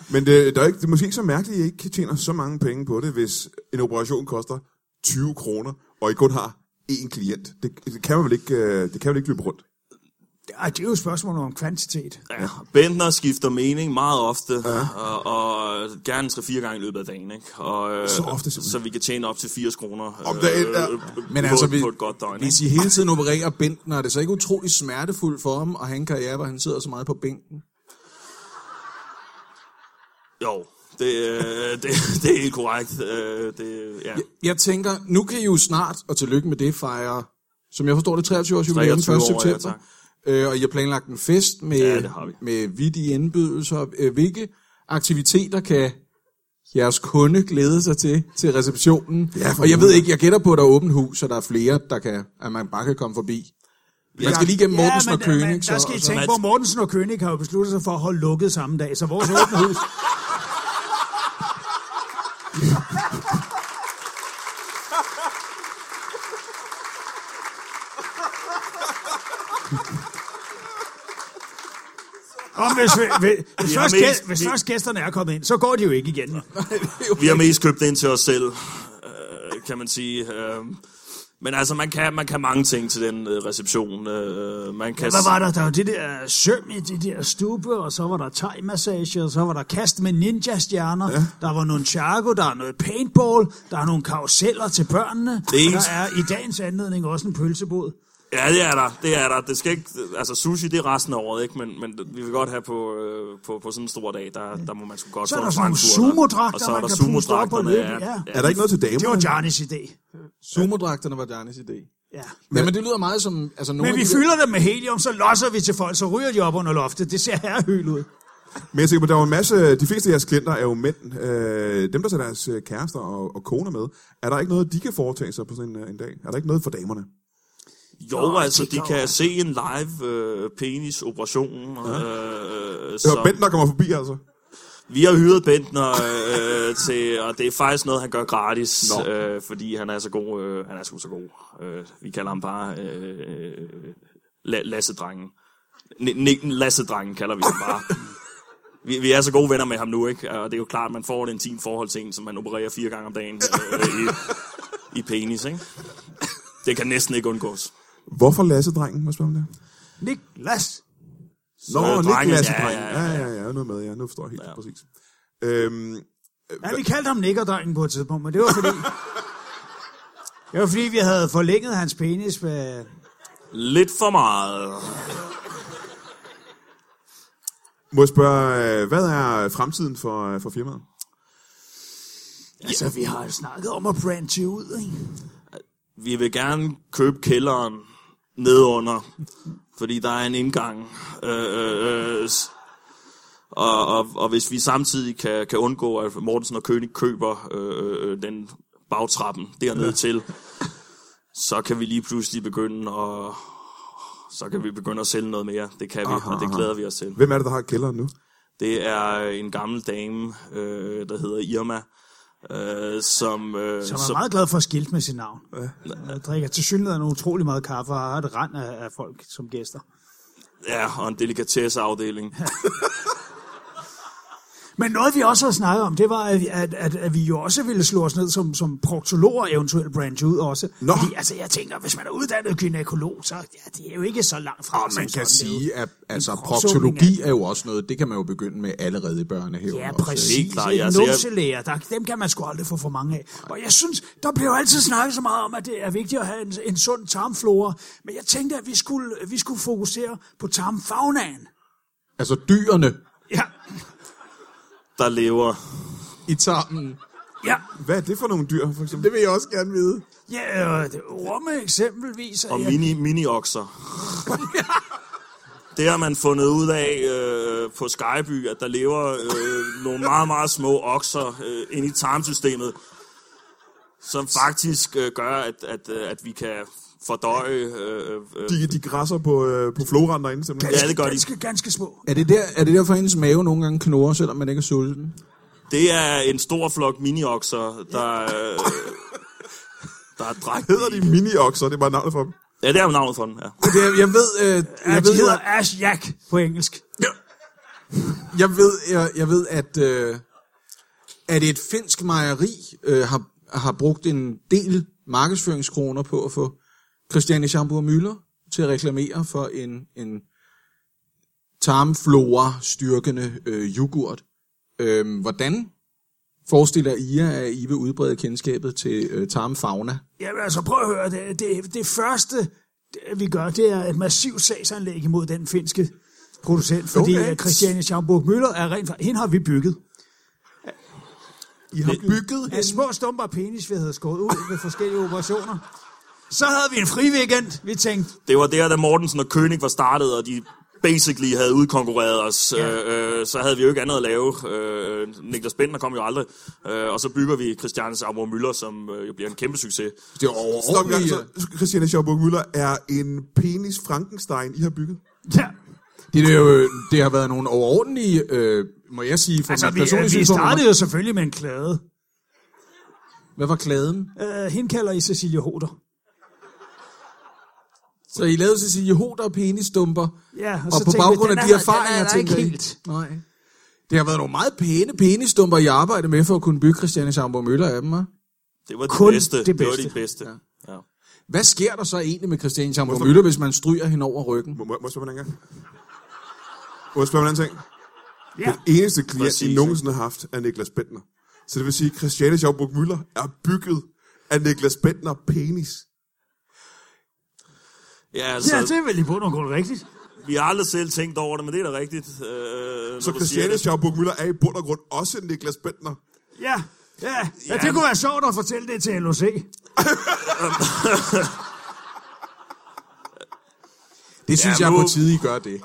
S1: Men det, der er ikke, det er måske ikke så mærkeligt, at I ikke tjener så mange penge på det, hvis en operation koster 20 kroner, og I kun har én klient. Det, det kan man vel ikke, øh, det kan vel ikke løbe rundt.
S3: Ej, det er jo et spørgsmål om kvantitet.
S4: ja. Bentner skifter mening meget ofte, ja. og, og gerne 3-4 gange i løbet af dagen. Ikke? Og, øh,
S1: Så ofte simpelthen.
S4: så vi kan tjene op til 80 kroner øh,
S1: Om dagen, ja.
S2: Men altså,
S4: på,
S2: vi-
S4: på et godt døgn.
S2: Hvis I hele tiden opererer Bentner, er det så ikke utrolig smertefuldt for ham at have en karriere, hvor han sidder så meget på bænken?
S4: Jo, det, øh, det, [laughs] det er helt korrekt. Øh, det, ja.
S2: Jeg tænker, nu kan I jo snart, og tillykke med det, fejre, som jeg forstår det, 23 års jubilæum 1.
S4: 23 år, ja,
S2: september.
S4: tak.
S2: øh, og I har planlagt en fest med,
S4: Ja, det har vi.
S2: med vidige indbydelser. Øh, Hvilke aktiviteter kan jeres kunde glæde sig til, til receptionen?
S1: Ja, for
S2: og jeg ved
S1: helvede.
S2: ikke, jeg gætter på, at der er åbent hus, så der er flere, der kan, at man bare kan komme forbi. Man skal lige igennem Mortensen og
S3: men,
S2: Kønig.
S3: men der skal I
S2: og
S3: tænke på, Mortensen og Kønig har jo besluttet sig for at holde lukket samme dag, så vores åbne hus... Om hvis, vi, vi, hvis,
S4: Vi har
S3: først,
S4: mest-
S3: gæst, hvis
S4: vi-
S3: først gæsterne er kommet ind, så går de jo ikke igen.
S4: Vi har mest købt ind til os selv, øh, kan man sige. Øh, men altså, man kan, man kan mange ting til den øh, reception. Øh, man kan...
S3: Hvad var der? Der var det der søm i de der stube, og så var der thai-massage, og så var der kast med ninja-stjerner, ja. der var nogle chargo, der er noget paintball, der er nogle karuseller til børnene,
S4: Det er
S3: der
S4: ens-
S3: er i dagens anledning også en pølsebod.
S4: Ja, det er der. Det er der. Det skal ikke... Altså, sushi, det er resten af året, ikke? Men, men vi vil godt have på, øh, på, på sådan en stor dag, der, der må man sgu godt
S3: Så er
S4: få
S3: der
S4: en
S3: sådan nogle
S4: frankfurter.
S3: sumodragter,
S4: Og så er
S3: man
S4: der
S3: kan puste op og
S4: sumodragterne,
S3: løbe i,
S4: ja.
S3: ja.
S1: Er der ikke noget til damerne?
S3: Det var
S4: Mm.
S3: Jarnis idé.
S2: Sumodragterne var Dernes idé.
S3: Ja.
S2: Ja, men det lyder meget som... Altså, nogle
S3: Men
S2: af
S3: vi
S2: de der-
S3: fylder dem med helium, så losser vi til folk, så ryger de op under loftet. Det ser herrehyl ud.
S1: Men jeg tænker på, der er jo en masse, de fleste af jeres klienter er jo mænd. Øh, dem, der tager deres øh, kærester og, og koner med, er der ikke noget, de kan foretage sig på sådan en, øh, en dag? Er der ikke noget for damerne?
S4: Jo, altså, de kan se en live øh, penis-operation. Øh, øh,
S1: Det var Bent, der kommer forbi, altså.
S4: Vi har hyret Bentner øh, til, og det er faktisk noget, han gør gratis, øh, fordi han er så god. Øh, han er sgu så god. Øh, vi kalder ham bare øh, La- Lasse-drengen. Ni- Ni- Lasse-drengen kalder vi ham bare. Vi, vi er så gode venner med ham nu, ikke? Og det er jo klart, at man får et intimt forhold til en, som man opererer fire gange om dagen øh, i, i penis, ikke? Det kan næsten ikke undgås.
S1: Hvorfor Lasse-drengen? Hvad spørger man der?
S3: Niklas!
S1: Nå,
S4: Øh,
S1: øh, Nick
S4: drengen,
S1: Lasse-drengen.
S4: ja,
S1: Ja,
S4: ja,
S1: ja, ja, ja, noget med, ja. Nu forstår jeg helt ja. præcis. Øhm,
S3: Ja, vi kaldte ham nikkerdrengen på et tidspunkt, men det var
S4: [laughs]
S3: fordi... det var fordi, vi havde forlænget hans penis med...
S4: Lidt for meget.
S1: må jeg spørge, øh, hvad er fremtiden for, øh, for firmaet?
S3: Altså, vi har jo snakket om at branche ud, ikke?
S4: vi vil gerne købe kælderen nedunder, fordi der er en indgang. Øh, øh, øh, s- og, og, og hvis vi samtidig kan, kan undgå, at Mortensen og König køber øh, øh, den bagtrappen dernede ja. til, så kan vi lige pludselig begynde at så kan vi begynde at sælge noget mere. Det kan vi, aha, og det glæder vi os til.
S1: Hvem er det, der har kælderen nu?
S4: Det er en gammel dame, øh, der hedder Irma, øh, som... Øh,
S3: Som er meget glad for at skilte med sit navn. Ja. Drikker til synligheden utrolig meget kaffe og har et rand af, af folk som gæster.
S4: ja, og en delikatesseafdeling.
S3: Men noget vi også har snakket om, det var, at, at, at, at vi jo også ville slå os ned som, som proktologer, eventuelt branche ud også.
S1: Nå.
S3: Fordi, altså, jeg tænker, hvis man er uddannet gynækolog, så ja, det er jo ikke så langt fra.
S2: Og man
S3: som
S2: kan
S3: sådan, det er jo-
S2: sige, at altså,
S3: proksumning
S2: proktologi er jo også noget, det kan man jo begynde med allerede i børnehaven.
S3: Ja,
S2: også.
S4: Det er
S3: præcis.
S4: ikke klart,
S3: Ikke
S4: ja, altså, jeg-
S3: Numselæger, der, dem kan man sgu aldrig få for mange af. Og jeg synes, der bliver jo altid snakket så meget om, at det er vigtigt at have en, en sund tarmflora. Men jeg tænkte, at vi skulle, vi skulle fokusere på tarmfagnaen.
S2: Altså dyrene
S3: Ja,
S4: der lever.
S2: i tarmen.
S3: ja.
S1: Hvad er det for nogle dyr, for eksempel?
S2: Det vil jeg også gerne vide.
S3: ja og det- rumme eksempelvis.
S4: Og
S3: ja.
S4: mini,
S1: [laughs]
S4: mini-okser. Det har man fundet ud af øh, på Skyby, at der lever øh, nogle meget, meget små okser øh, inde i tarmsystemet, som faktisk øh, gør, at, at, øh, at vi kan fordøje... Øh, øh,
S1: De, de græsser på, øh, på floran derinde, simpelthen.
S4: Ja, det gør de.
S3: Ganske, ganske små.
S2: Er det, der, er det derfor, hendes mave nogle gange knurrer, selvom man ikke er sulten?
S4: Det er en stor flok miniokser,
S1: [laughs]
S4: der, øh, der er drægt.
S1: Hedder de mini-okser? Det er bare navnet for dem.
S4: Ja, det er navnet for den, ja.
S2: Jeg, jeg ved, øh,
S3: Ja,
S2: jeg
S3: de
S2: ved,
S3: hedder Ash Jack på engelsk.
S2: jeg ved, jeg, jeg ved at, øh, at et finsk mejeri øh, har, har brugt en del markedsføringskroner på at få Christiane Schamburg Müller til at reklamere for en, en tarmflora-styrkende øh, yoghurt. Øh, hvordan forestiller I jer, at I vil udbrede kendskabet til øh, tarmfauna?
S3: Jamen altså, prøv at høre, det, det, det første, det, vi gør, det er et massivt sagsanlæg imod den finske producent, fordi
S2: Okay.
S3: okay. Christiane Schaumburg Møller er rent faktisk, hende har vi bygget.
S2: I har bygget
S3: Af små stumper af penis, vi havde skåret ud ved forskellige operationer. Så havde vi en fri weekend, vi tænkte,
S4: Det var der, da Mortensen og König var startet, og de basically havde udkonkurreret os. Ja. Øh, så havde vi jo ikke andet at lave. Øh, Niklas Bender kom jo aldrig. Øh, og så bygger vi Christianes Amor Møller, som øh, jo bliver en kæmpe succes.
S2: Det
S1: Stop en
S2: er
S1: gang,
S2: overordentligt. øh,
S4: øh,
S1: så Christiane Schaumburg Müller er en penis Frankenstein, I har bygget.
S3: ja,
S2: Det, er jo, det har været nogle overordentlige, øh, må jeg sige, for
S3: altså
S2: mit
S3: vi,
S2: personlige
S3: vi
S2: synspunkt.
S3: startede jo selvfølgelig med en klade.
S2: Hvad var klæden?
S3: Uh, hende kalder I Cecilie Hoder.
S2: Så I lavede Cecilie Hoder og penisdumper,
S3: Ja, og,
S2: og, og
S3: så
S2: på
S3: tænkte
S2: baggrund
S3: vi,
S2: af
S3: den
S2: de
S3: er-
S2: erfaringer,
S3: den er der
S2: tænker
S3: ikke
S2: I?
S3: helt.
S2: Nej. Det har været nogle meget pæne penisdumper, jeg arbejder med for at kunne bygge Christiane Schaumburg Møller af dem, hva'?
S4: Det var
S3: Kun
S4: det bedste.
S3: det
S4: Det var
S3: bedste.
S4: det bedste. Ja. Ja.
S2: Hvad sker der så egentlig med Christiane Schaumburg Møller, hvis man stryger hende over ryggen?
S1: Må, må, må jeg spørge om en gang? Må jeg spørge om en anden ting?
S3: Ja.
S1: Den eneste klient,
S4: Præcis,
S1: I
S4: ikke?
S1: nogensinde har haft, er Niklas Bentner. Så det vil sige, at Christiane Schaumburg Müller er bygget af Niklas Bentner penis.
S4: Ja, altså,
S3: Ja, det er vel i bund og grund rigtigt.
S4: Vi har aldrig selv tænkt over det, men det er da rigtigt. Øh, når
S1: Så
S4: du siger
S1: Christiane
S4: det.
S1: Schaumburg Müller er i bund og grund også Niklas Bentner.
S3: Ja. Ja, ja, det kunne være sjovt at fortælle det til LOC.
S2: Det synes
S4: Ja,
S2: ja, jeg er
S4: nu-
S2: på tide, I gør det.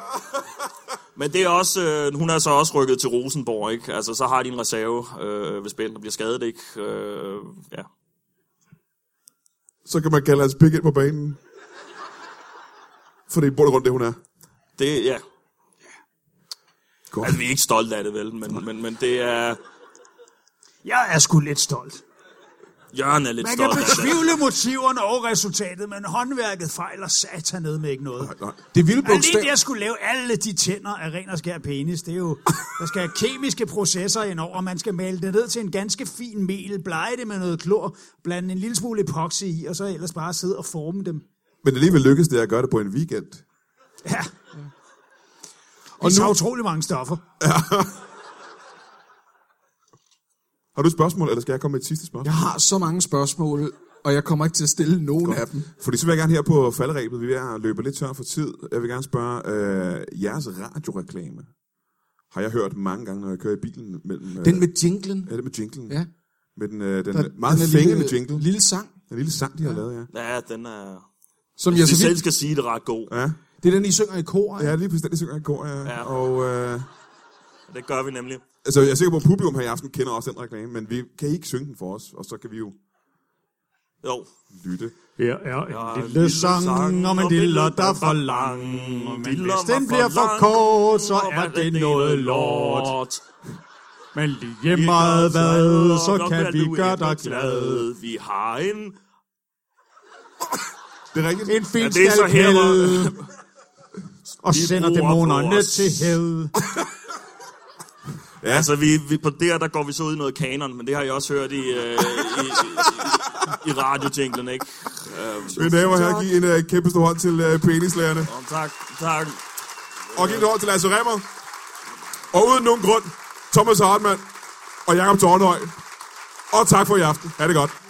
S4: Men det er også, øh, hun er så også rykket til Rosenborg, ikke? Altså, så har de en reserve, øh, hvis Bender bliver skadet, ikke? Øh, ja.
S1: Så kan man kalde hans pik ind på banen. For det er i bund og grund det, hun er.
S4: Det, ja. Altså, vi er ikke stolte af det, vel? Men, men, men det er...
S3: Jeg er sgu lidt stolt.
S4: Jørgen er lidt
S3: Man kan
S4: stolt af det.
S3: betvivle motiverne og resultatet, men håndværket fejler satanede med ikke noget.
S1: Nej.
S2: Det vilde
S3: Alene
S2: bogstav...
S3: det at skulle lave alle de tænder af ren og skær penis, det er jo, der skal kemiske processer indover, man skal male det ned til en ganske fin mel, blege det med noget klor, blande en lille smule epoxy i, og så ellers bare sidde og forme dem.
S1: Men alligevel lykkedes det at gøre det på en weekend.
S3: Ja. Og nu... Mm. utrolig mange stoffer.
S1: Har du et spørgsmål, eller skal jeg komme med et sidste spørgsmål?
S2: Jeg har så mange spørgsmål, og jeg kommer ikke til at stille nogen Godt. af dem.
S1: Fordi så vil jeg gerne her på falderæbet, vi er ved at løbe lidt tør for tid. Jeg vil gerne spørge, øh, jeres radioreklame har jeg hørt mange gange, når jeg kører i bilen mellem... Øh,
S2: Den med jinglen.
S1: Ja, det med jinglen.
S2: Ja.
S1: Med den, øh, den
S2: Der,
S1: meget
S2: den er
S1: fængende
S2: lille-
S1: jingle.
S2: Lille sang.
S1: Den lille sang, de har lavet, ja.
S4: Ja, den er...
S2: Som jeg
S4: De
S2: så
S4: selv
S2: vidt,
S4: skal sige, det er ret god.
S1: Ja,
S2: det er den, I synger i kor,
S1: ja
S2: ja.
S1: lige præcis den, jeg synger i går, ja.
S4: Ja.
S1: Og, øh,
S4: Det gør vi nemlig.
S1: altså, jeg er sikker på, at publikum her i aften kender også den reklame, men vi kan I ikke synge den for os, og så kan vi jo
S4: Jo.
S1: lytte.
S3: Ja, ja,
S4: en lille sang om en diller, der er for lang. Men hvis den bliver for kort, så er det noget lort.
S3: Men lige
S4: Meget hvad, så kan vi gøre dig glad. Vi har en...
S1: Det er rigtigt.
S3: En fin
S4: Ja, det er så her, [laughs] hvor-
S3: og
S4: Vi sender bruger dæmonerne vores- til
S3: helvede.
S4: Altså, vi, vi, på der, der går vi så ud i noget kanon, men det har jeg også hørt i, øh, i, i, i radiotjinglen, ikke?
S1: Mine damer og herrer, giv en øh, kæmpe stor hånd til øh, penislærerne.
S4: Om, tak, tak.
S1: Og giv et hånd til Lasse Remmer. Og uden nogen grund, Thomas Hartmann og Jakob Tornhøj. Og tak for i aften. Ha' det godt.